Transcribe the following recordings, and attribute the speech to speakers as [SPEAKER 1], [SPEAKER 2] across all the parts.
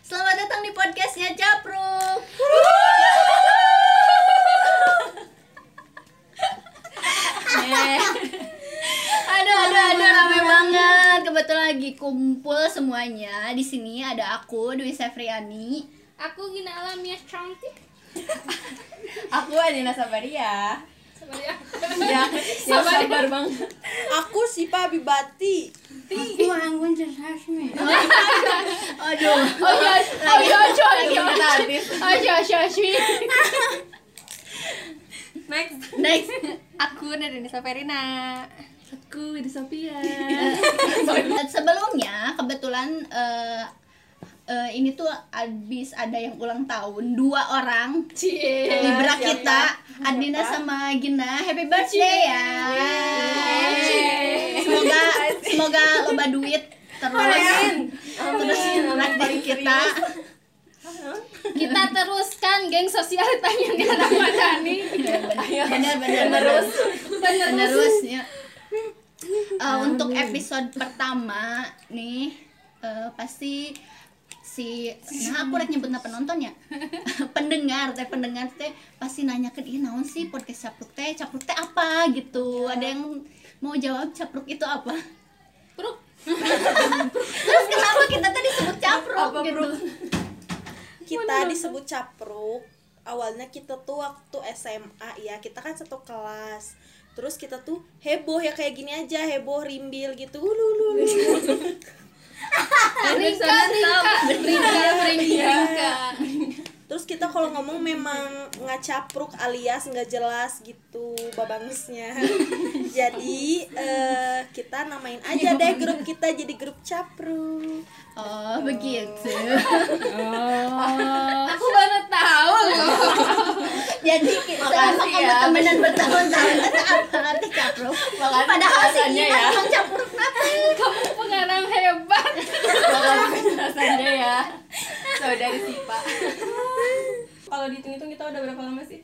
[SPEAKER 1] Selamat datang di podcastnya Capruk. Eh. aduh, aduh, aduh, rame banget. Kebetulan lagi kumpul semuanya. Di sini ada aku, Dwi Sefriani.
[SPEAKER 2] Aku Gina Alamia cantik.
[SPEAKER 3] Aku Adina Sabaria.
[SPEAKER 2] Sebenarnya.
[SPEAKER 3] Ya, sabar, sabar banget.
[SPEAKER 4] Aku Sipa Bibati. Aku Anggun Jasasmi.
[SPEAKER 1] Aduh.
[SPEAKER 2] Oh iya, oh iya, oh iya, oh iya, oh iya, oh iya, oh iya.
[SPEAKER 3] Next.
[SPEAKER 1] Next.
[SPEAKER 3] Aku Nadine Saperina. Aku Widya Sophia.
[SPEAKER 1] Sebelumnya kebetulan eh, eh, ini tuh abis ada yang ulang tahun dua orang
[SPEAKER 2] Cie.
[SPEAKER 1] Libra kita Adina sama Gina happy birthday ya
[SPEAKER 2] Yeay.
[SPEAKER 1] semoga semoga loba duit terus terus nanti kita
[SPEAKER 2] Kita teruskan geng sosialitanya di Ramadhani.
[SPEAKER 1] bener bener terus terus ya Eh, untuk episode pertama nih eh, pasti si nah aku rek nyebutna penonton ya pendengar teh pendengar teh pasti nanyakan ih naon sih podcast capruk teh capruk teh apa gitu ada yang mau jawab capruk itu apa
[SPEAKER 2] Pruk.
[SPEAKER 1] terus kenapa kita tadi sebut capruk gitu
[SPEAKER 4] Kita disebut capruk. Awalnya kita tuh waktu SMA ya, kita kan satu kelas. Terus kita tuh heboh ya kayak gini aja, heboh rimbil gitu. Ulu, ulu, ulu.
[SPEAKER 2] Rika, Rika, Rika, Rika, Rika.
[SPEAKER 4] Terus kita kalau ngomong memang nggak capruk alias nggak jelas gitu babangsnya. jadi eh, kita namain aja deh grup kita jadi grup capruk.
[SPEAKER 1] oh begitu Oh.
[SPEAKER 2] Aku baru tahu loh.
[SPEAKER 1] jadi selama
[SPEAKER 3] Makasih
[SPEAKER 1] kamu
[SPEAKER 3] ya.
[SPEAKER 1] temenan bertahun-tahun kata apa nanti capruk padahal sih
[SPEAKER 3] penjelasannya
[SPEAKER 1] kita
[SPEAKER 3] ya.
[SPEAKER 1] memang capruk
[SPEAKER 2] Kamu pengarang hebat.
[SPEAKER 3] Tolong penjelasannya ya. Saudari Sipa. Kalau dihitung-hitung kita udah berapa lama sih?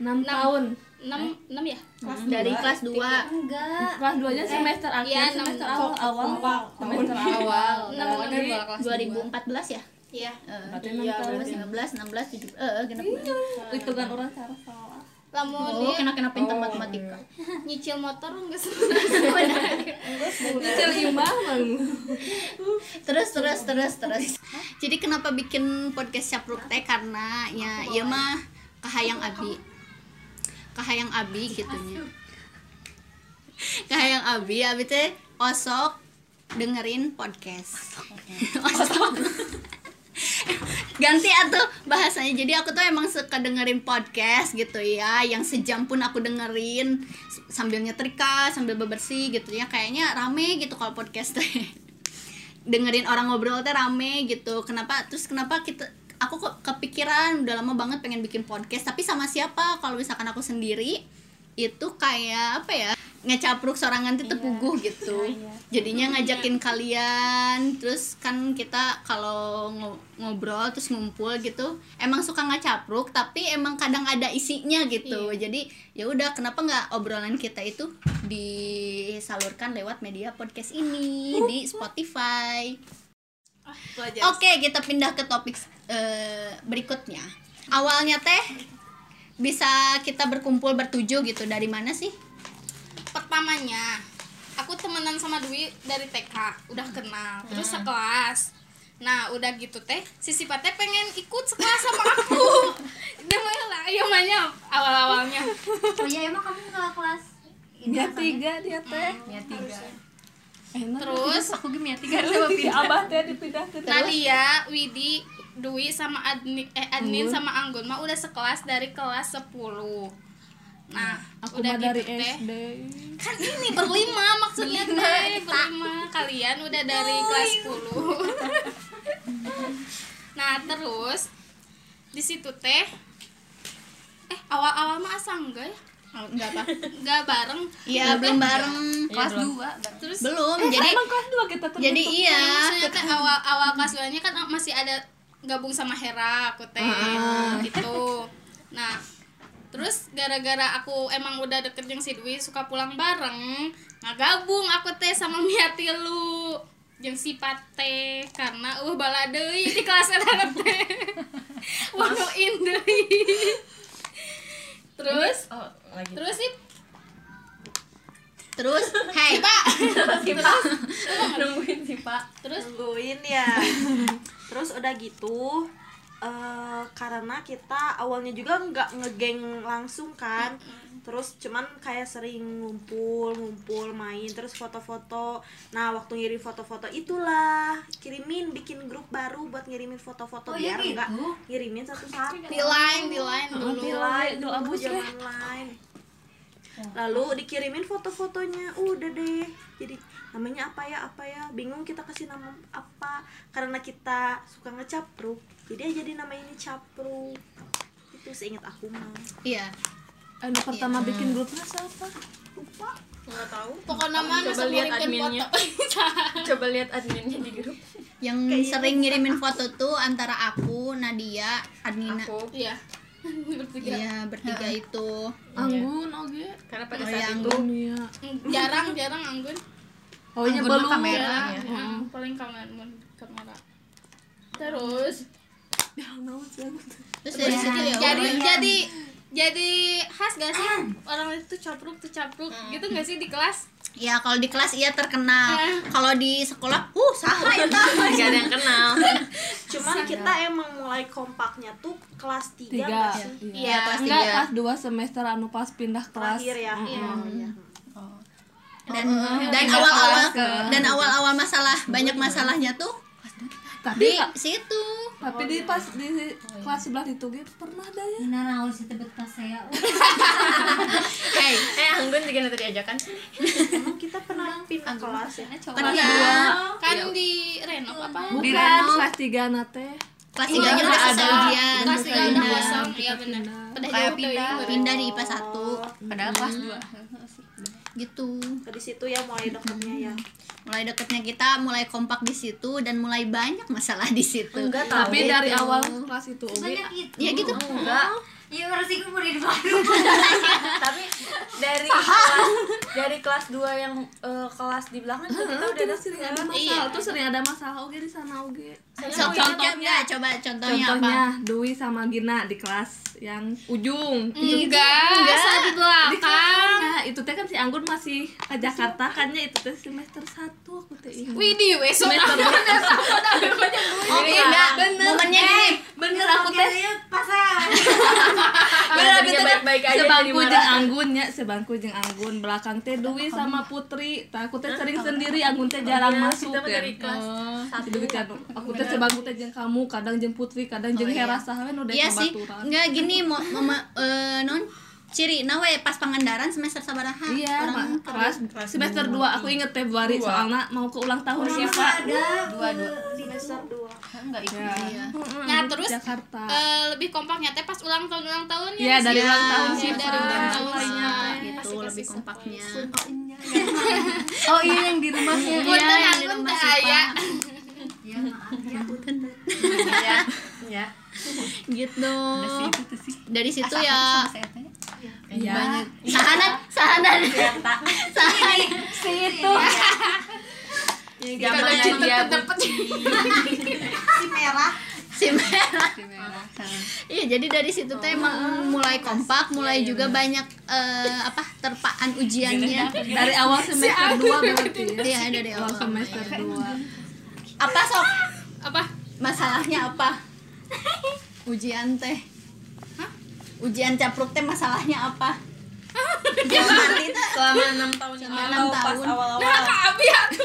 [SPEAKER 5] 6 tahun.
[SPEAKER 2] 6 6 ya?
[SPEAKER 1] dari kelas 2
[SPEAKER 2] Enggak.
[SPEAKER 5] Kelas 2 nya semester akhir,
[SPEAKER 2] Iya, enam
[SPEAKER 5] semester
[SPEAKER 2] tahun.
[SPEAKER 5] awal, awal. Semester awal.
[SPEAKER 2] Enam
[SPEAKER 5] Nah,
[SPEAKER 2] lebih.
[SPEAKER 5] dari-
[SPEAKER 1] 2014 ya
[SPEAKER 2] Iya.
[SPEAKER 5] Berarti
[SPEAKER 1] iya,
[SPEAKER 5] enam tahun.
[SPEAKER 1] 15, 19, 17, eh, eh, genep bener.
[SPEAKER 5] Hitungan orang salah salah.
[SPEAKER 2] Lamun
[SPEAKER 1] Oh,
[SPEAKER 2] dia
[SPEAKER 1] kena kena pintar matematika.
[SPEAKER 2] nyicil motor enggak sih?
[SPEAKER 5] Kecil imbang bang.
[SPEAKER 1] Terus terus terus terus. Jadi kenapa bikin podcast Capruk teh karena ya ya mah kahayang abi. Kahayang abi gitunya. Kahayang abi abi teh osok dengerin podcast. Osok. ganti atau bahasanya jadi aku tuh emang suka dengerin podcast gitu ya yang sejam pun aku dengerin s- sambil nyetrika sambil bebersih gitu ya kayaknya rame gitu kalau podcast teh dengerin orang ngobrol teh rame gitu kenapa terus kenapa kita aku kok kepikiran udah lama banget pengen bikin podcast tapi sama siapa kalau misalkan aku sendiri itu kayak apa ya ngecapruk sorangan itu tepuguh gitu jadinya ngajakin kalian terus kan kita kalau ngo- ngobrol terus ngumpul gitu emang suka ngecapruk tapi emang kadang ada isinya gitu jadi ya udah kenapa nggak obrolan kita itu disalurkan lewat media podcast ini di Spotify oke kita pindah ke topik eh, berikutnya awalnya teh bisa kita berkumpul bertujuh gitu dari mana sih
[SPEAKER 2] pertamanya aku temenan sama Dwi dari TK udah kenal terus
[SPEAKER 5] Hmm.
[SPEAKER 2] sekelas nah udah gitu teh si Sipa teh pengen ikut sekelas sama aku dia mah lah iya mahnya awal awalnya
[SPEAKER 1] oh iya emang kamu nggak kelas
[SPEAKER 5] Dia tiga dia teh. Dia tiga.
[SPEAKER 2] terus
[SPEAKER 5] Aku gini ya tiga sama Abah teh dipindahkan.
[SPEAKER 2] Nadia Widi Dwi sama admin eh admin
[SPEAKER 5] Hmm.
[SPEAKER 2] sama Anggun mah udah sekelas dari kelas 10 nah
[SPEAKER 5] Hmm. Aku
[SPEAKER 2] udah
[SPEAKER 5] mah
[SPEAKER 2] gitu
[SPEAKER 5] dari
[SPEAKER 2] teh
[SPEAKER 5] SD.
[SPEAKER 2] kan ini berlima maksudnya teh berlima kalian udah dari kelas 10 nah terus di situ teh eh awal-awal mah asa enggak ya
[SPEAKER 1] nggak apa
[SPEAKER 2] enggak bareng
[SPEAKER 1] iya belum bareng
[SPEAKER 5] Kelas 2.
[SPEAKER 2] terus
[SPEAKER 1] belum jadi
[SPEAKER 5] Emang kelas 2 kita tuh.
[SPEAKER 1] jadi iya
[SPEAKER 2] maksudnya teh awal ah, ah. awal kelas 2 nya kan masih ada gabung sama Hera aku teh gitu nah terus gara-gara aku emang udah deket jeung si Dwi suka pulang bareng nah gabung aku teh sama Mia Tilu jeung si Pate karena uh bala deui di kelas eta teh wanuin deui terus
[SPEAKER 3] Oh, lagi.
[SPEAKER 2] terus sih
[SPEAKER 1] Terus, hey,
[SPEAKER 3] si Pak. Nungguin si Pak.
[SPEAKER 2] terus
[SPEAKER 4] nungguin ya terus udah gitu eh, karena kita awalnya juga nggak ngegeng langsung kan terus cuman kayak sering ngumpul ngumpul main terus foto-foto nah waktu ngirim foto-foto itulah kirimin bikin grup baru buat ngirimin
[SPEAKER 5] Oh,
[SPEAKER 4] foto-foto biar
[SPEAKER 5] iya
[SPEAKER 4] nggak
[SPEAKER 5] gitu?
[SPEAKER 4] ngirimin satu-satu
[SPEAKER 2] di line di line dulu
[SPEAKER 4] di line
[SPEAKER 5] doa
[SPEAKER 4] dulu
[SPEAKER 5] bus ya.
[SPEAKER 4] zaman line lalu dikirimin foto-fotonya Uh, udah deh jadi namanya apa ya apa ya bingung kita kasih nama apa karena kita suka ngecapruk jadi aja jadi namanya ini capruk itu seingat aku mah
[SPEAKER 1] iya.
[SPEAKER 5] Aduh pertama bikin grupnya siapa?
[SPEAKER 3] Enggak tahu.
[SPEAKER 2] pokoknya mah
[SPEAKER 3] Coba
[SPEAKER 2] masa
[SPEAKER 3] lihat
[SPEAKER 2] ngirimkan
[SPEAKER 3] adminnya.
[SPEAKER 2] foto
[SPEAKER 3] Coba lihat adminnya di grup.
[SPEAKER 1] Yang sering ngirimin foto tuh antara aku, Nadia, Adnina.
[SPEAKER 3] Aku
[SPEAKER 2] iya bertiga
[SPEAKER 1] Iya, bertiga itu.
[SPEAKER 5] Anggun oke.
[SPEAKER 3] karena pada
[SPEAKER 1] Oh,
[SPEAKER 3] saat
[SPEAKER 1] yang
[SPEAKER 3] itu
[SPEAKER 5] Iya.
[SPEAKER 2] jarang jarang anggun
[SPEAKER 5] Oh
[SPEAKER 1] iya, Anggun mah
[SPEAKER 5] iya belum
[SPEAKER 1] belum. kamera.
[SPEAKER 5] kamera.
[SPEAKER 2] Jarang, ya. paling kamera kamera terus
[SPEAKER 1] Terus dari situ ya.
[SPEAKER 2] Iya. jadi
[SPEAKER 1] orang-
[SPEAKER 2] jadi jadi khas gak sih orang itu capruk tuh capruk gitu gak sih di kelas
[SPEAKER 1] Ya kalau di kelas iya terkenal. Kalau di sekolah, uh saha eta.
[SPEAKER 3] Gak ada yang kenal.
[SPEAKER 4] cuman kita emang mulai kompaknya tuh kelas 3
[SPEAKER 5] Tiga.
[SPEAKER 4] nggak sih
[SPEAKER 1] Iya, kelas
[SPEAKER 5] Enggak
[SPEAKER 1] tiga.
[SPEAKER 5] kelas 2 semester anu pas pindah kelas.
[SPEAKER 4] terakhir ya Oh, iya.
[SPEAKER 1] Dan dan
[SPEAKER 5] Pindah
[SPEAKER 1] awal-awal
[SPEAKER 5] kelas ke-
[SPEAKER 1] dan awal-awal masalah banyak masalahnya tuh di
[SPEAKER 5] Tapi
[SPEAKER 1] situ.
[SPEAKER 5] tapi di pas di kelas sebelah itu ge pernah ada ya.
[SPEAKER 6] Nah, naon sih tebet pas saya.
[SPEAKER 1] Hey,
[SPEAKER 3] Eh Anggun juga nanti diajakan.
[SPEAKER 4] emang kita pernah pindah kelas ya
[SPEAKER 1] pernah
[SPEAKER 2] kan di renov apa
[SPEAKER 5] Bukan kelas 3 na teh.
[SPEAKER 1] kelas tiga aja udah selesai ujian.
[SPEAKER 2] kelas tiga udah
[SPEAKER 1] Pindah.
[SPEAKER 2] kosong iya benar udah
[SPEAKER 1] Kayak
[SPEAKER 2] jauh
[SPEAKER 1] pindah,
[SPEAKER 2] dari
[SPEAKER 1] pindah di IPA 1
[SPEAKER 5] Padahal kelas
[SPEAKER 1] gitu.
[SPEAKER 4] dari situ ya mulai dekatnya ya
[SPEAKER 1] Mulai deketnya kita mulai kompak di situ dan mulai banyak masalah di situ.
[SPEAKER 3] Enggak tahu.
[SPEAKER 5] Tapi dari awal kelas itu oge
[SPEAKER 6] Banyak gitu.
[SPEAKER 1] Ya gitu.
[SPEAKER 3] enggak.
[SPEAKER 6] Iya, berarti gue mau di baru.
[SPEAKER 3] Tapi dari kelas, dari kelas 2 yang eh, kelas di belakang tuh kita udah ada
[SPEAKER 5] sering ada masalah tuh sering ada masalah oge di sana oge.
[SPEAKER 1] So, contohnya coba contohnya, apa?
[SPEAKER 5] Contohnya Dwi sama Gina di kelas yang ujung.
[SPEAKER 2] enggak enggak di
[SPEAKER 5] Di
[SPEAKER 2] belakang
[SPEAKER 5] kelas, nah, itu teh kan si Anggun masih ke Jakarta kan ya itu teh semester 1 aku teh ingat.
[SPEAKER 2] wih di besok
[SPEAKER 1] Oh, enggak. Momennya gini.
[SPEAKER 5] Bener aku teh
[SPEAKER 6] Pas saya.
[SPEAKER 5] Bener
[SPEAKER 3] Belajarnya baik-baik aja jadi
[SPEAKER 5] gitu sebangku
[SPEAKER 3] marah.
[SPEAKER 5] jeung Anggun nya, sebangku jeung Anggun belakang teh Dwi sama Putri. Tah aku teh sering sendiri Anggun teh jarang
[SPEAKER 3] Iya,
[SPEAKER 5] masuk
[SPEAKER 3] kita mah dari
[SPEAKER 5] kan.
[SPEAKER 3] kelas
[SPEAKER 5] Si Dwi kan aku teh sebangku teh jeung kamu, kadang jeung Putri, kadang
[SPEAKER 3] Oh,
[SPEAKER 5] Kan jeung Hera saha we nu dek
[SPEAKER 1] Iya sih.
[SPEAKER 5] babaturan.
[SPEAKER 1] Enggak gini mau mama eh non ciri nawe pas pangandaran semester sabaraha.
[SPEAKER 5] Iya,
[SPEAKER 1] Nah, Orang
[SPEAKER 5] ma- kelas semester 2 aku inget Februari soalnya mau ke ulang tahun Siva.
[SPEAKER 6] Dua dua.
[SPEAKER 4] semester 2
[SPEAKER 1] iya.
[SPEAKER 2] nah terus
[SPEAKER 5] Jakarta.
[SPEAKER 2] eh, lebih kompaknya teh pas ulang tahun ulang tahun ya?
[SPEAKER 5] Iya, dari ulang tahun
[SPEAKER 2] sih
[SPEAKER 5] Siva.
[SPEAKER 2] dari ulang tahun Siva.
[SPEAKER 1] Gitu lebih kompaknya.
[SPEAKER 5] Oh iya yang di rumahnya.
[SPEAKER 1] Iya,
[SPEAKER 2] Punten
[SPEAKER 1] di
[SPEAKER 2] anggun
[SPEAKER 1] rumah
[SPEAKER 2] teh
[SPEAKER 1] Siva.
[SPEAKER 2] aya
[SPEAKER 6] Ya, maaf ya.
[SPEAKER 1] Iya,
[SPEAKER 3] ya. Ya.
[SPEAKER 1] Gitu. Dari situ ya
[SPEAKER 5] Iya.
[SPEAKER 1] banyak sahanan sahanan sahanan
[SPEAKER 6] Itu.
[SPEAKER 3] Zaman yang dia
[SPEAKER 4] si merah
[SPEAKER 1] si merah iya jadi dari situ teh emang mulai kompak mulai juga banyak eh, apa terpaan ujiannya
[SPEAKER 5] Dari awal semester 2 berarti ya.
[SPEAKER 1] iya dari
[SPEAKER 5] Awal
[SPEAKER 1] awal
[SPEAKER 5] semester
[SPEAKER 3] Iya.
[SPEAKER 5] 2.
[SPEAKER 1] apa sok
[SPEAKER 2] apa
[SPEAKER 1] masalahnya apa ujian teh ujian capruk teh masalahnya apa
[SPEAKER 3] selama 6 tahun yang
[SPEAKER 1] Selama
[SPEAKER 3] lalu,
[SPEAKER 1] enam
[SPEAKER 3] pas
[SPEAKER 1] tahun.
[SPEAKER 3] awal-awal
[SPEAKER 2] abi aku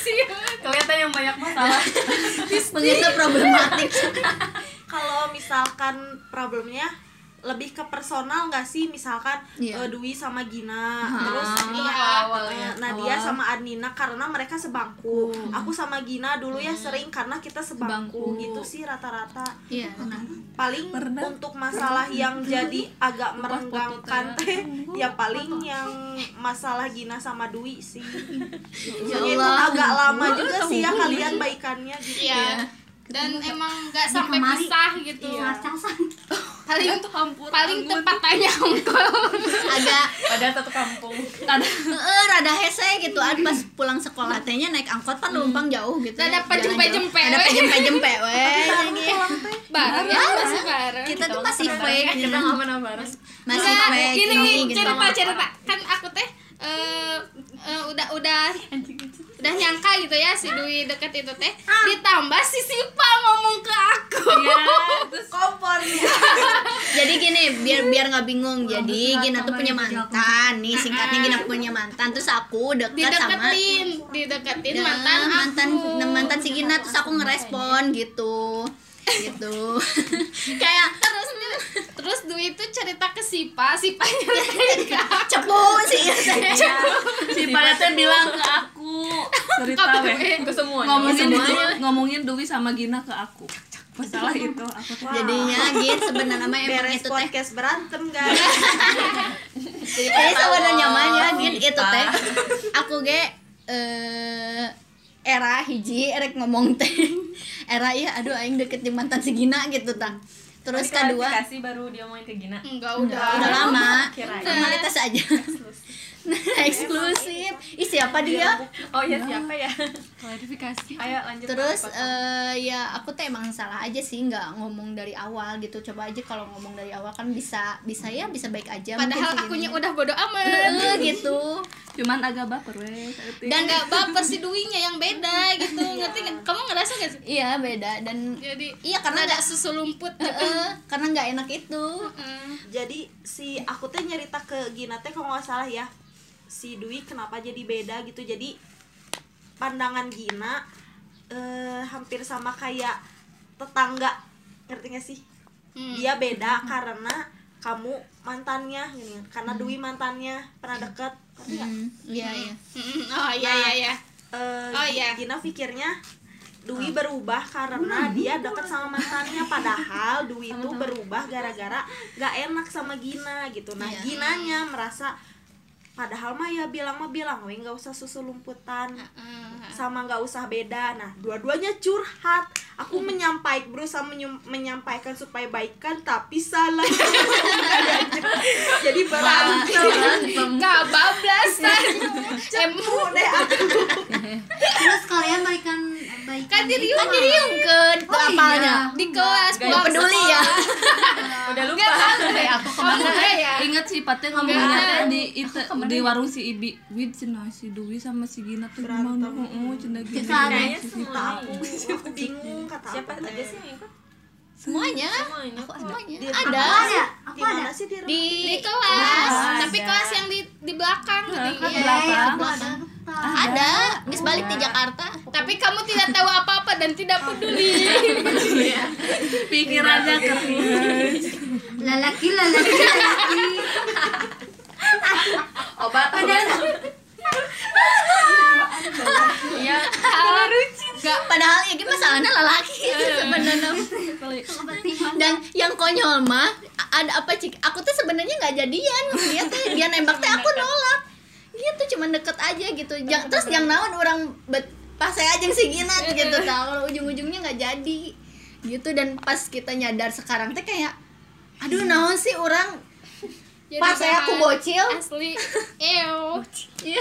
[SPEAKER 2] sih
[SPEAKER 3] kelihatan yang banyak masalah.
[SPEAKER 1] begitu problematik
[SPEAKER 4] kalau misalkan problemnya lebih ke personal nggak sih misalkan
[SPEAKER 1] Iya.
[SPEAKER 4] eh, Dwi sama Gina terus itu
[SPEAKER 3] iya,
[SPEAKER 4] kan,
[SPEAKER 3] awalnya.
[SPEAKER 4] eh, Nadia sama Adnina karena mereka sebangku aku sama Gina dulu ya sering karena kita sebangku,
[SPEAKER 5] Sebangku.
[SPEAKER 4] gitu sih rata-rata
[SPEAKER 1] iya benar
[SPEAKER 4] paling untuk masalah yang jadi agak merenggangkan teh ya paling yang masalah Gina sama Dwi sih
[SPEAKER 1] ya
[SPEAKER 4] itu
[SPEAKER 1] Allah
[SPEAKER 4] agak lama juga sih ya kalian baikannya gitu
[SPEAKER 2] Iya. dan emang nggak sampai
[SPEAKER 6] kamari.
[SPEAKER 2] pisah gitu
[SPEAKER 1] Iya.
[SPEAKER 6] casan
[SPEAKER 2] paling
[SPEAKER 5] Itu kampung
[SPEAKER 2] paling tepat tanya ongkol
[SPEAKER 1] agak
[SPEAKER 3] Padahal satu kampung.
[SPEAKER 1] eh, rada hese gitu kan pas pulang sekolah tehnya naik angkot kan numpang jauh gitu
[SPEAKER 2] Rada
[SPEAKER 1] ya, jalan
[SPEAKER 2] pejempe-jempe,
[SPEAKER 1] jauh. rada
[SPEAKER 2] weh.
[SPEAKER 1] pejempe-jempe weh jadi
[SPEAKER 2] bareng ya masih bareng
[SPEAKER 1] kita tuh masih fake gitu
[SPEAKER 5] kita nggak mana-mana
[SPEAKER 1] masih
[SPEAKER 2] Enggak,
[SPEAKER 1] fake
[SPEAKER 2] gini nih
[SPEAKER 1] gitu.
[SPEAKER 2] cerita cerita kan aku teh eh, eh, udah udah udah nyangka gitu ya si Dwi deket itu teh ditambah si Sipa ngomong ke aku
[SPEAKER 5] Ya,
[SPEAKER 1] jadi gini biar biar nggak bingung jadi Gina tuh punya mantan nih singkatnya Gina punya mantan terus aku dekat Nah, sama
[SPEAKER 2] dideketin dideketin
[SPEAKER 1] Ya,
[SPEAKER 2] mantan
[SPEAKER 1] mantan
[SPEAKER 2] aku
[SPEAKER 1] mantan si Gina terus aku ngerespon gitu gitu kayak
[SPEAKER 2] terus dia- terus Dwi itu cerita ke Sipa Sipa
[SPEAKER 1] Ya,
[SPEAKER 2] nyeritain ke aku
[SPEAKER 1] cepu sih
[SPEAKER 5] si pada teh bilang ke aku cerita
[SPEAKER 2] Apa
[SPEAKER 5] weh
[SPEAKER 2] tuh?
[SPEAKER 3] Ke semuanya.
[SPEAKER 5] ngomongin Dwi, ngomongin Dwi sama Gina ke aku masalah itu aku tuh
[SPEAKER 1] jadinya gitu sebenarnya mah emang
[SPEAKER 4] beres
[SPEAKER 1] itu teh
[SPEAKER 4] podcast berantem guys
[SPEAKER 1] jadi sebenarnya mah ya gitu itu teh aku ge eh era hiji erek ngomong teh era ya aduh aing deket jeung mantan si Gina gitu tang terus
[SPEAKER 5] Kan
[SPEAKER 1] kedua
[SPEAKER 3] Kasih baru dia ngomongin ke Gina.
[SPEAKER 2] enggak udah
[SPEAKER 1] udah lama
[SPEAKER 3] Kirain.
[SPEAKER 1] formalitas aja Nah, eksklusif ih siapa dia
[SPEAKER 3] Oh iya siapa ya?
[SPEAKER 5] klarifikasi
[SPEAKER 3] Ayo lanjut.
[SPEAKER 1] terus eh, ya aku tuh emang salah aja sih nggak ngomong dari awal gitu coba aja kalau ngomong dari awal kan bisa bisa ya bisa baik aja mungkin si
[SPEAKER 2] padahal
[SPEAKER 1] Gina.
[SPEAKER 2] akunya udah bodo amat
[SPEAKER 1] Eh, gitu
[SPEAKER 5] cuman agak baper weh
[SPEAKER 2] dan nggak baper si Duinya yang beda gitu ngerti nggak? kamu ngerasa gak sih
[SPEAKER 1] iya beda dan
[SPEAKER 2] jadi
[SPEAKER 1] iya karena
[SPEAKER 2] ada
[SPEAKER 1] nggak
[SPEAKER 2] susu lumput gitu. Mm,
[SPEAKER 1] Eh, eh, karena nggak enak itu
[SPEAKER 4] jadi si aku teh nyerita ke Gina teh kalau nggak salah ya si Dwi kenapa jadi beda gitu jadi pandangan Gina eh, hampir sama kayak tetangga ngerti gak sih dia beda karena kamu mantannya gini karena Dwi mantannya pernah deket ngerti nggak?
[SPEAKER 1] Hmm, iya iya
[SPEAKER 2] Mm, oh iya iya iya
[SPEAKER 4] Eh,
[SPEAKER 2] Oh, iya.
[SPEAKER 4] Gina pikirnya Dwi berubah karena dia deket sama mantannya padahal Dwi itu berubah gara-gara gak enak sama Gina gitu nah
[SPEAKER 1] Iya.
[SPEAKER 4] Ginanya merasa padahal mah ya bilang mah bilang we nggak usah susu lumputan sama nggak usah beda nah dua-duanya curhat aku
[SPEAKER 2] Mm.
[SPEAKER 4] menyampaikan berusaha menyum- menyampaikan supaya baikan tapi salah jadi berarti
[SPEAKER 2] nggak bablasan em
[SPEAKER 6] terus kalian balikan baikan
[SPEAKER 2] kan
[SPEAKER 6] gitu.
[SPEAKER 2] diriung
[SPEAKER 1] Diriung ke
[SPEAKER 6] Oh, iya.
[SPEAKER 1] apalnya
[SPEAKER 2] di kelas
[SPEAKER 1] nggak peduli ya
[SPEAKER 3] udah lupa.
[SPEAKER 5] aku kemana inget si Pate ngomongnya teh di itu di warung si Ibi Wid cina si Dwi sama si Gina tuh gimana oh cina Gina
[SPEAKER 6] Kayaknya
[SPEAKER 5] si
[SPEAKER 4] Kata aku, aku bingung kata
[SPEAKER 3] Iya. Siapa
[SPEAKER 4] aku,
[SPEAKER 3] aja sih yang ikut?
[SPEAKER 1] semuanya
[SPEAKER 3] Semuanya.
[SPEAKER 1] kok semuanya
[SPEAKER 4] Di-
[SPEAKER 6] Aku
[SPEAKER 1] ada
[SPEAKER 6] ada aku
[SPEAKER 4] di
[SPEAKER 6] ada
[SPEAKER 4] mana sih di
[SPEAKER 1] di
[SPEAKER 2] di kelas tapi kelas yang di di belakang gitu.
[SPEAKER 5] Iya,
[SPEAKER 6] Eh,
[SPEAKER 5] Belakang.
[SPEAKER 6] aku ada Tetap.
[SPEAKER 1] ada nggak balik di Jakarta
[SPEAKER 2] tapi kamu tidak tahu apa apa dan tidak peduli
[SPEAKER 5] pikirannya keren
[SPEAKER 6] lelaki lelaki lelaki
[SPEAKER 3] Obat.
[SPEAKER 5] iya
[SPEAKER 1] nggak padahal ya gini masalahnya lelaki sebenarnya
[SPEAKER 6] kebatiman
[SPEAKER 1] dan yang konyol mah a- ada apa cik aku tuh sebenarnya nggak jadian dia teh dia nembak teh aku nolak gitu cuman deket aja gitu Jang- terus yang naon orang bet pas saya aja yang si Gina gitu kalau ujung-ujungnya nggak jadi gitu dan pas kita nyadar sekarang teh kayak aduh naon sih orang
[SPEAKER 2] Jadi
[SPEAKER 1] pas saya aku
[SPEAKER 2] bahan
[SPEAKER 1] bocil
[SPEAKER 2] asli ew
[SPEAKER 1] Iya.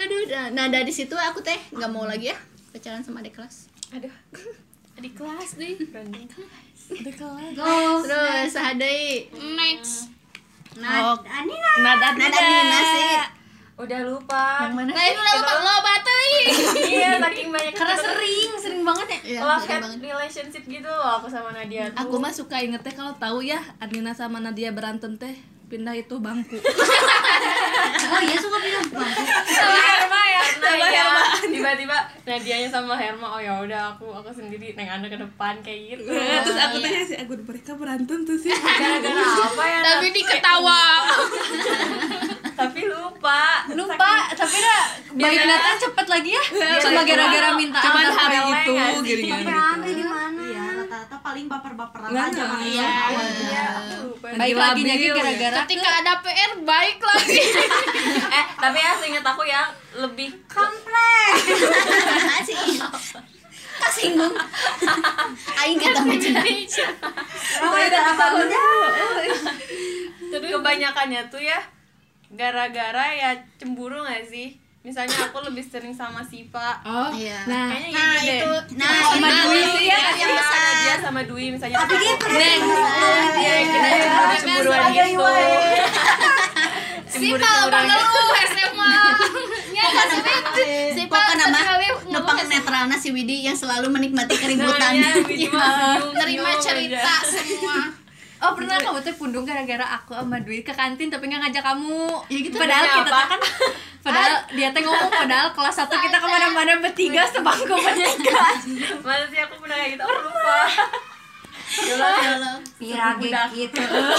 [SPEAKER 1] aduh da- nah dari situ aku teh nggak mau lagi ya pacaran sama adik kelas
[SPEAKER 3] Aduh,
[SPEAKER 2] di kelas deh
[SPEAKER 3] branding.
[SPEAKER 6] go
[SPEAKER 1] terus sahadei
[SPEAKER 2] next
[SPEAKER 6] nah Anina
[SPEAKER 5] nada
[SPEAKER 1] nada Nina sih
[SPEAKER 3] Udah lupa.
[SPEAKER 2] lain udah lupa lo bateri
[SPEAKER 3] Iya, saking banyak
[SPEAKER 6] karena sering sering banget ya
[SPEAKER 1] Iya,
[SPEAKER 3] love
[SPEAKER 1] sering
[SPEAKER 3] hate
[SPEAKER 1] banget.
[SPEAKER 3] relationship gitu loh aku sama Nadia.
[SPEAKER 5] aku mah suka inget teh kalau tahu ya Adina sama Nadia berantem teh pindah itu bangku
[SPEAKER 6] oh iya suka bilang bagus
[SPEAKER 3] sama Herma ya sama Herma tiba-tiba Nadianya sama Herma oh ya udah aku aku sendiri neng anda ke depan kayak gitu
[SPEAKER 5] terus aku tanya sih aku mereka berantem tuh sih
[SPEAKER 3] gara-gara apa ya
[SPEAKER 2] tapi diketawa
[SPEAKER 3] tapi lupa
[SPEAKER 6] lupa tapi udah biar kelihatan cepet lagi ya
[SPEAKER 5] cuma gara-gara minta cuman
[SPEAKER 3] antar
[SPEAKER 5] hari
[SPEAKER 3] peleng
[SPEAKER 5] itu
[SPEAKER 3] nggak
[SPEAKER 5] gini
[SPEAKER 6] Iya.
[SPEAKER 4] gitu.
[SPEAKER 5] gini
[SPEAKER 6] rame di mana
[SPEAKER 4] Iya, rata-rata paling baper-baperan
[SPEAKER 5] Nggak,
[SPEAKER 4] aja
[SPEAKER 5] nggak,
[SPEAKER 4] Mas.
[SPEAKER 5] iya.
[SPEAKER 3] Iya, aku lupa.
[SPEAKER 7] nah,
[SPEAKER 5] baik lagi lagi gara-gara
[SPEAKER 2] ketika ada PR baik lagi
[SPEAKER 3] eh ya, tapi ya seingat aku yang lebih
[SPEAKER 6] komplek
[SPEAKER 1] Apaan sih Kasinggung. Aing eta
[SPEAKER 2] Nah,
[SPEAKER 1] mah cenah.
[SPEAKER 7] kebanyakannya tuh ya gara-gara ya cemburu gak sih misalnya aku lebih sering sama Siva
[SPEAKER 5] Oh,
[SPEAKER 1] Iya.
[SPEAKER 5] nah,
[SPEAKER 7] kayaknya nah, gitu itu
[SPEAKER 1] Nah, sama
[SPEAKER 5] Dwi sih ya,
[SPEAKER 7] yang sama dia sama Dwi misalnya tapi dia
[SPEAKER 1] Iya,
[SPEAKER 7] kita cemburu cemburuan gitu
[SPEAKER 2] Si
[SPEAKER 7] cemburu
[SPEAKER 2] kalau
[SPEAKER 7] cemburuan
[SPEAKER 2] bangga lu SMA. Ya kan sih. Si
[SPEAKER 1] Pokoknya mah
[SPEAKER 2] kali
[SPEAKER 1] nepang netralna si Widi yang selalu
[SPEAKER 2] Nah,
[SPEAKER 1] menikmati keributan. Iya.
[SPEAKER 7] Namanya Wijma Agung,
[SPEAKER 2] nerima iya,
[SPEAKER 7] Yong,
[SPEAKER 2] cerita semua.
[SPEAKER 6] Oh pernah kamu tuh pundung gara-gara aku sama duit ke kantin tapi nggak ngajak kamu.
[SPEAKER 1] Ya gitu,
[SPEAKER 6] Padahal
[SPEAKER 7] demi
[SPEAKER 6] kita
[SPEAKER 7] apa?
[SPEAKER 6] tuh kan padahal dia teh ngomong padahal kelas satu kita kemana-mana bertiga sebangku bertiga.
[SPEAKER 7] masa sih aku pernah kayak gitu oh, lupa
[SPEAKER 6] Pirage gitu. Kan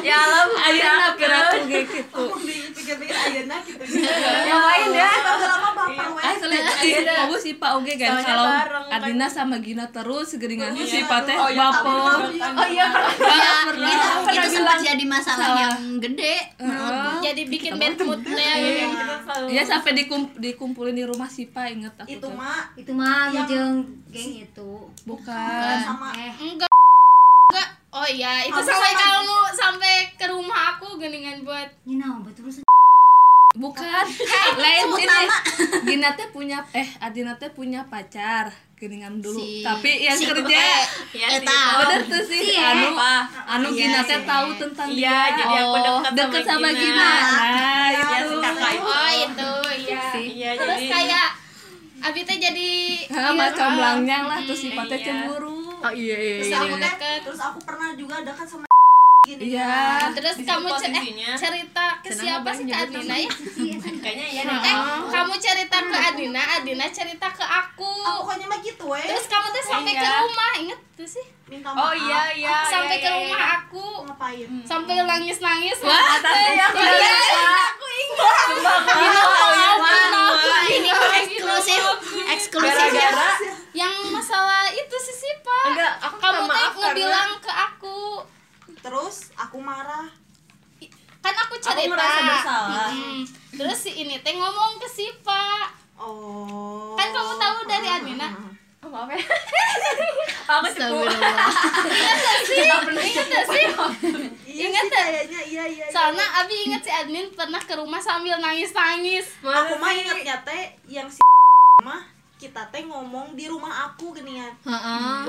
[SPEAKER 7] ya Allah
[SPEAKER 5] ayeuna
[SPEAKER 7] budak.
[SPEAKER 5] piratu ge kitu.
[SPEAKER 4] pikir-pikir ayeuna gitu
[SPEAKER 5] Ngapain dah?
[SPEAKER 4] lama bapak we
[SPEAKER 5] Ah, selek kamu si Pak oge kan
[SPEAKER 7] Soalnya
[SPEAKER 5] kalau
[SPEAKER 7] bareng, kan.
[SPEAKER 5] Adina sama Gina terus geringan si
[SPEAKER 7] Iya.
[SPEAKER 5] Pak teh
[SPEAKER 7] Oh, iya,
[SPEAKER 5] baper.
[SPEAKER 7] oh iya
[SPEAKER 1] Iya,
[SPEAKER 5] pernah.
[SPEAKER 1] itu,
[SPEAKER 5] Pernah
[SPEAKER 1] itu sempat
[SPEAKER 5] bilang.
[SPEAKER 1] jadi masalah
[SPEAKER 5] Salah. Nah,
[SPEAKER 1] yang gede menurut gua.
[SPEAKER 2] Jadi bikin bad mood ya.
[SPEAKER 7] kita selalu
[SPEAKER 5] Iya sampai dikum- dikumpulin di rumah si Pak inget aku
[SPEAKER 4] itu
[SPEAKER 5] tuh.
[SPEAKER 4] mah
[SPEAKER 6] Itu mah ngejeng geng itu.
[SPEAKER 5] Bukan.
[SPEAKER 4] sama
[SPEAKER 6] Eh,
[SPEAKER 2] Enggak. Enggak. Oh iya, itu
[SPEAKER 4] Kamu
[SPEAKER 2] sampai
[SPEAKER 4] sama-
[SPEAKER 2] kamu sampai ke rumah aku geningan buat
[SPEAKER 6] you know, betul terus.
[SPEAKER 5] Bukan. Lain ini. Gina teh punya eh Adina teh punya pacar geningan dulu.
[SPEAKER 1] Si-
[SPEAKER 5] Tapi yang
[SPEAKER 1] si- eh,
[SPEAKER 5] kerja oh,
[SPEAKER 7] ya
[SPEAKER 1] Eta.
[SPEAKER 5] bener tuh sih anu anu
[SPEAKER 1] Iya,
[SPEAKER 5] Gina teh
[SPEAKER 1] iya.
[SPEAKER 5] tahu tentang
[SPEAKER 7] iya
[SPEAKER 5] dia. Oh,
[SPEAKER 7] jadi aku dekat
[SPEAKER 5] deket sama Gina. Nah,
[SPEAKER 7] ya
[SPEAKER 5] itu.
[SPEAKER 7] si kakak itu
[SPEAKER 2] oh itu iya.
[SPEAKER 7] iya
[SPEAKER 2] Terus
[SPEAKER 7] jadi
[SPEAKER 2] kayak Abi teh jadi Iya, ah.
[SPEAKER 5] sama comblangnya lah terus sifatnya
[SPEAKER 7] iya.
[SPEAKER 5] cemburu oh iya iya
[SPEAKER 4] terus
[SPEAKER 2] iya.
[SPEAKER 4] aku teh
[SPEAKER 2] Deket.
[SPEAKER 4] terus aku pernah juga dekat sama gini
[SPEAKER 5] iya
[SPEAKER 2] Nah, terus kamu ce- eh,
[SPEAKER 7] posisinya.
[SPEAKER 2] cerita ke siapa sih ke Adina ya?
[SPEAKER 7] kayaknya iya deh
[SPEAKER 2] Eh, kamu cerita ke Adina, Adina cerita ke aku.
[SPEAKER 4] Ah, pokoknya mah gitu we
[SPEAKER 2] Terus kamu tuh sampai ke
[SPEAKER 7] Iya.
[SPEAKER 2] rumah, inget tuh sih?
[SPEAKER 4] minta maaf
[SPEAKER 7] oh iya iya
[SPEAKER 2] sampai
[SPEAKER 7] iya,
[SPEAKER 2] ke
[SPEAKER 7] iya,
[SPEAKER 2] rumah
[SPEAKER 7] iya.
[SPEAKER 2] aku,
[SPEAKER 4] ngapain
[SPEAKER 2] sampai nangis-nangis.
[SPEAKER 1] eksklusif eksklusif ya.
[SPEAKER 7] gara-gara
[SPEAKER 2] Yang masalah itu sih sih, Pak.
[SPEAKER 7] enggak aku minta
[SPEAKER 2] kamu teh
[SPEAKER 7] maaf karena
[SPEAKER 2] ngebilang ke aku.
[SPEAKER 4] terus aku marah
[SPEAKER 2] Kan aku cerita.
[SPEAKER 4] aku merasa bersalah
[SPEAKER 2] Hmm. Terus si ini teh ngomong ke si Pak.
[SPEAKER 4] oh Hmm.
[SPEAKER 2] Kan kamu tahu dari Adina.
[SPEAKER 7] oh, maaf ya aku cepu
[SPEAKER 2] Ingat gak sih?
[SPEAKER 4] iya
[SPEAKER 2] Ingat
[SPEAKER 4] sih
[SPEAKER 2] tak?
[SPEAKER 4] kayaknya iya iya iya.
[SPEAKER 2] Soalnya Abi inget si admin pernah ke rumah sambil nangis-nangis.
[SPEAKER 4] aku mah ingetnya teh yang si mah kita teh ngomong di rumah aku ya. genian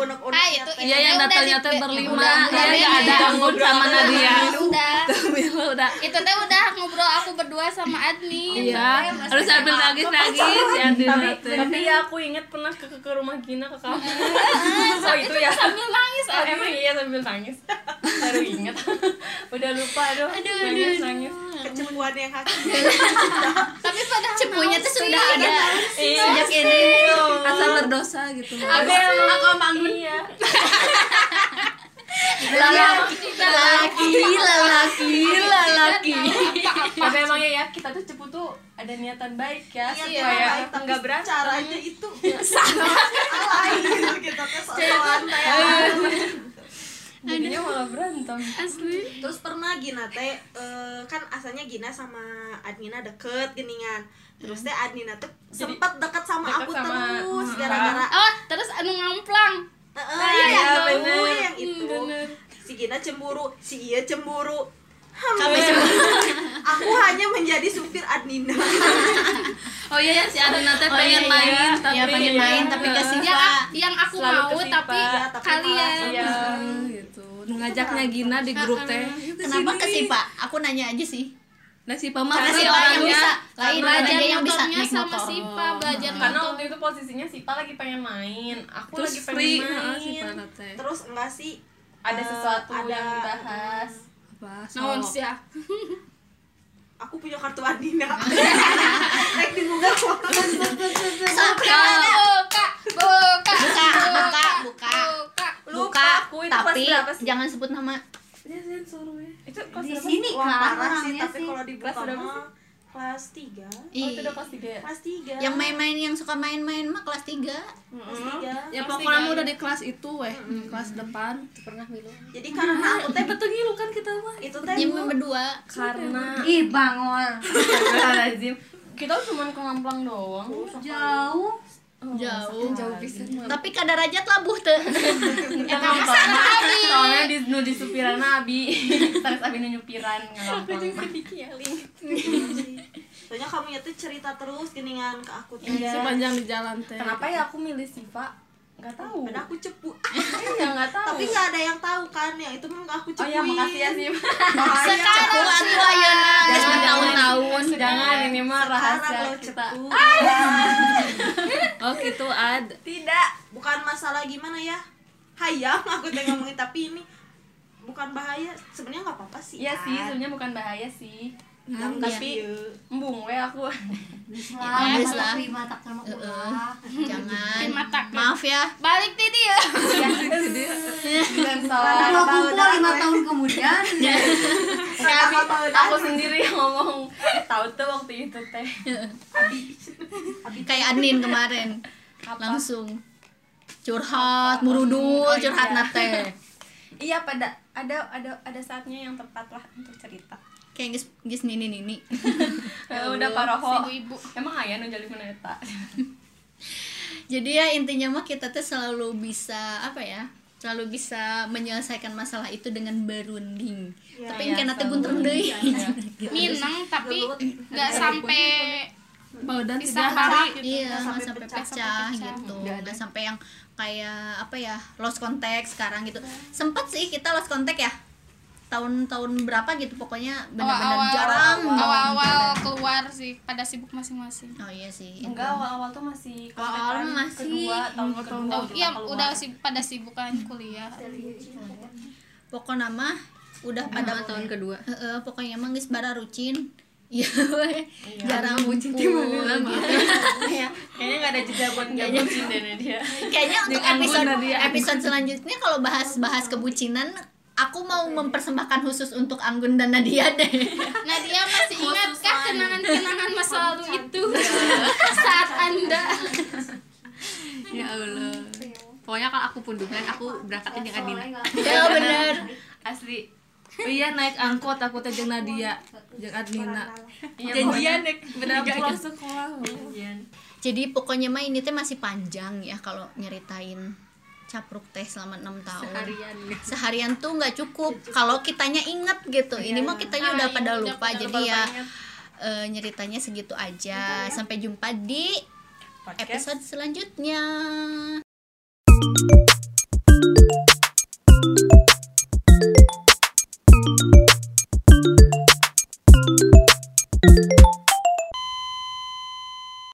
[SPEAKER 4] unek-uneknya
[SPEAKER 2] Ah, itu-
[SPEAKER 4] teh.
[SPEAKER 5] iya yang
[SPEAKER 2] udah
[SPEAKER 5] datanya
[SPEAKER 2] di-
[SPEAKER 5] teh berlima
[SPEAKER 2] udah- udah
[SPEAKER 5] iya ya
[SPEAKER 2] beres.
[SPEAKER 5] ada Anggun sama Nadia
[SPEAKER 2] Udah.
[SPEAKER 5] Bila udah
[SPEAKER 2] Itu teh udah ngobrol aku berdua sama admin. Nah,
[SPEAKER 5] iya harus sambil nangis nangis ya di
[SPEAKER 7] tapi
[SPEAKER 5] teh
[SPEAKER 7] tapi ya aku inget pernah ke, ke, ke rumah Gina ke kamu oh itu ya
[SPEAKER 2] Sambil nangis
[SPEAKER 7] Oh, emang iya sambil nangis baru inget udah lupa aduh, nangis nangis
[SPEAKER 4] kecemburuan yang hakiki
[SPEAKER 2] Tapi pada
[SPEAKER 1] cepunya tuh sudah ada
[SPEAKER 2] kan?
[SPEAKER 7] iya
[SPEAKER 1] sejak ini
[SPEAKER 5] asal berdosa gitu
[SPEAKER 7] Abel aku sama Anggun ya
[SPEAKER 1] lelaki lelaki lelaki
[SPEAKER 7] tapi emangnya ya kita tuh cepu tuh ada niatan baik ya
[SPEAKER 4] Iya,
[SPEAKER 7] supaya
[SPEAKER 4] iya, baik, tapi
[SPEAKER 7] nggak berantem
[SPEAKER 4] caranya itu salah gitu kita teh sosokan teh gitu.
[SPEAKER 7] jadinya malah berantem
[SPEAKER 4] terus pernah Gina teh eh, kan asalnya Gina sama Adnina deket geningan terus teh Adnina teh sempat Iya. deket sama
[SPEAKER 7] deket
[SPEAKER 4] aku
[SPEAKER 7] sama-
[SPEAKER 4] terus
[SPEAKER 7] Mm,
[SPEAKER 4] gara-gara
[SPEAKER 2] Oh, terus anu ngamplang.
[SPEAKER 4] eh, eh,
[SPEAKER 7] Ah, iya,
[SPEAKER 4] yang itu,
[SPEAKER 7] bener.
[SPEAKER 4] yang itu si Gina cemburu si Iya cemburu Hmm, aku hanya menjadi supir Adnina
[SPEAKER 5] oh iya ya si Adina teh pengen
[SPEAKER 7] Iya,
[SPEAKER 5] main tapi
[SPEAKER 1] ya pengen main tapi ke
[SPEAKER 2] Yang,
[SPEAKER 1] Siva
[SPEAKER 2] yang aku
[SPEAKER 7] Selalu
[SPEAKER 2] mau
[SPEAKER 7] kesipa.
[SPEAKER 2] tapi
[SPEAKER 7] Iya,
[SPEAKER 4] tapi
[SPEAKER 2] kalian
[SPEAKER 4] malah
[SPEAKER 7] iya
[SPEAKER 5] gitu ngajaknya Gina di grup teh
[SPEAKER 1] kenapa ke Siva aku nanya aja sih
[SPEAKER 5] nah si Pama
[SPEAKER 1] Karena si
[SPEAKER 5] sih
[SPEAKER 1] Pak yang
[SPEAKER 5] orangnya
[SPEAKER 1] bisa lain aja
[SPEAKER 2] belajar
[SPEAKER 1] yang bisa
[SPEAKER 2] motornya
[SPEAKER 1] naik
[SPEAKER 2] sama
[SPEAKER 1] motor
[SPEAKER 2] Sipa belajar
[SPEAKER 7] karena
[SPEAKER 2] motor.
[SPEAKER 7] waktu itu posisinya Sipa lagi pengen main aku
[SPEAKER 5] terus Ah,
[SPEAKER 7] lagi pengen
[SPEAKER 5] free
[SPEAKER 7] main
[SPEAKER 5] heeh, si Pak teh
[SPEAKER 4] terus enggak sih
[SPEAKER 7] ada
[SPEAKER 4] eh,
[SPEAKER 7] sesuatu
[SPEAKER 4] ada-
[SPEAKER 7] yang dibahas
[SPEAKER 5] apa
[SPEAKER 2] Naon
[SPEAKER 5] Sok.
[SPEAKER 2] sih ya?
[SPEAKER 4] aku punya kartu Adina Rek di Google
[SPEAKER 2] Buka, buka,
[SPEAKER 1] buka buka buka
[SPEAKER 2] buka.
[SPEAKER 1] buka
[SPEAKER 7] aku itu kelas
[SPEAKER 1] tapi
[SPEAKER 7] berapa sih?
[SPEAKER 1] jangan sebut nama
[SPEAKER 7] itu kelas
[SPEAKER 6] Di
[SPEAKER 7] berapa
[SPEAKER 6] sini
[SPEAKER 4] Wah,
[SPEAKER 6] kan
[SPEAKER 4] parah sih,
[SPEAKER 6] orangnya
[SPEAKER 4] tapi
[SPEAKER 6] sih.
[SPEAKER 4] kalau dibuka
[SPEAKER 7] Kelas berapa
[SPEAKER 4] mah kelas 3
[SPEAKER 7] oh itu
[SPEAKER 1] Ih,
[SPEAKER 7] udah kelas tiga ya
[SPEAKER 4] Kelas 3
[SPEAKER 1] yang main-main yang suka main-main mah kelas 3
[SPEAKER 4] Kelas tiga.
[SPEAKER 5] ya pokoknya mah udah di kelas itu weh kelas depan
[SPEAKER 4] Jadi karena aku teh
[SPEAKER 5] betul gitu kan kita mah
[SPEAKER 4] itu teh
[SPEAKER 1] Jim berdua
[SPEAKER 7] karena
[SPEAKER 6] Ih, bangol.
[SPEAKER 7] Astagfirullahaladzim kita cuman ke ngamplang doang
[SPEAKER 6] Jauh.
[SPEAKER 1] jauh
[SPEAKER 6] jauh pisan
[SPEAKER 1] tapi kadar aja labuh teh
[SPEAKER 7] Kita ngomong Soalnya di nu di supiran abi. Terus abi nu nyupiran ngalompong.
[SPEAKER 4] Soalnya kamu ya tuh cerita terus geningan ke aku tuh.
[SPEAKER 5] sepanjang di jalan teh
[SPEAKER 7] Iya, Kenapa ya aku milih Siva? Gak tahu.
[SPEAKER 4] Padahal aku cepu.
[SPEAKER 7] Ya nggak tahu.
[SPEAKER 4] Tapi nggak ada yang tahu kan yang itu memang aku Iya,
[SPEAKER 7] Oh
[SPEAKER 4] cepuin.
[SPEAKER 7] ya makasih ya Siva.
[SPEAKER 1] sekarang atuh ayeuna geus bertahun-tahun
[SPEAKER 7] Jangan ini mah rahasia
[SPEAKER 4] Sekarang lo
[SPEAKER 7] kita. Ah, iya.
[SPEAKER 4] cepu.
[SPEAKER 5] oh gitu ad
[SPEAKER 4] iya. Tidak, bukan masalah gimana ya. Hayang aku teh ngomongin tapi ini bukan bahaya. Sebenarnya nggak apa-apa sih. kan. Iya,
[SPEAKER 7] Iya
[SPEAKER 4] Ad.
[SPEAKER 7] sih, sebenarnya Hmm, iya. bukan bahaya sih.
[SPEAKER 4] Yang
[SPEAKER 7] Tapi
[SPEAKER 4] ieu.
[SPEAKER 7] embung we aku.
[SPEAKER 1] Ya,
[SPEAKER 6] lah
[SPEAKER 7] Iya,
[SPEAKER 1] guys lah.
[SPEAKER 6] lima tak sama ulah
[SPEAKER 1] jangan
[SPEAKER 2] mata
[SPEAKER 1] maaf ya
[SPEAKER 2] balik tadi ya
[SPEAKER 7] Dan
[SPEAKER 6] kalau
[SPEAKER 7] salah.
[SPEAKER 6] kumpul lima tahun kemudian
[SPEAKER 7] Abi, Iya. aku sendiri yang ngomong Eh, tahu tuh waktu itu teh.
[SPEAKER 1] kayak Anin kemarin langsung curhat murudul
[SPEAKER 7] Oh, iya.
[SPEAKER 1] curhat nate
[SPEAKER 7] Iya pada ada ada ada saatnya yang tepat lah untuk cerita.
[SPEAKER 1] kayak gis gis nini nini
[SPEAKER 7] Eh, udah paroho.
[SPEAKER 2] ibu
[SPEAKER 7] Emang ayah nu jadi meneta.
[SPEAKER 1] jadi ya intinya mah kita tuh selalu bisa apa ya selalu bisa menyelesaikan masalah itu dengan berunding tapi
[SPEAKER 7] Iya,
[SPEAKER 1] kan nanti
[SPEAKER 7] selalu Iya,
[SPEAKER 1] gunter deui
[SPEAKER 2] minang tapi nggak sampai
[SPEAKER 5] badan
[SPEAKER 2] bisa
[SPEAKER 5] tidak
[SPEAKER 2] parah
[SPEAKER 1] iya nggak
[SPEAKER 4] sampai
[SPEAKER 1] sampai
[SPEAKER 4] pecah,
[SPEAKER 1] pecah, gitu nggak sampai yang kayak apa ya lost contact sekarang gitu sempat sih kita lost contact ya tahun-tahun berapa gitu pokoknya benar-benar jarang banget.
[SPEAKER 2] awal-awal keluar sih pada sibuk masing-masing
[SPEAKER 1] oh iya sih
[SPEAKER 7] Enggak Gitu. awal-awal tuh masih
[SPEAKER 1] Awal-awal
[SPEAKER 7] kontekan
[SPEAKER 1] masih.
[SPEAKER 7] kedua tahun kedua
[SPEAKER 2] Udah-
[SPEAKER 7] kita
[SPEAKER 2] iya
[SPEAKER 7] keluar.
[SPEAKER 2] udah sib- pada sibukan kuliah
[SPEAKER 1] pokoknya mah udah pada tahun kedua pokoknya mah geus bara rucin Iya, we. jarang bucin
[SPEAKER 7] ya. Kayaknya nggak ada jeda buat nggak bucin deh dia.
[SPEAKER 1] Kayaknya untuk episode episode selanjutnya kalau bahas-bahas kebucinan, aku mau mempersembahkan khusus untuk Anggun dan Nadia deh.
[SPEAKER 2] Nadia Nah, masih ingatkah kenangan-kenangan masa lalu itu saat anda
[SPEAKER 6] ya allah pokoknya kalau aku pundukan aku berangkatnya dengan Adina
[SPEAKER 1] ya bener.
[SPEAKER 7] Asli.
[SPEAKER 5] oh, iya naik angkot aku teh jeung Nadia jeung Adnina
[SPEAKER 7] Iya,
[SPEAKER 5] janjian
[SPEAKER 7] pokoknya- Iya,
[SPEAKER 5] deh beda pulang sekolah
[SPEAKER 7] Janjian.
[SPEAKER 1] Jadi pokoknya mah ini teh masih panjang ya kalau nyeritain capruk teh selama enam tahun. Seharian.
[SPEAKER 7] iya.
[SPEAKER 1] tuh nggak cukup kalau kitanya inget gitu. Ini mah kitanya udah pada lupa Gitu ya. jadi ya eh, nyeritanya segitu aja. Sampai jumpa di episode selanjutnya.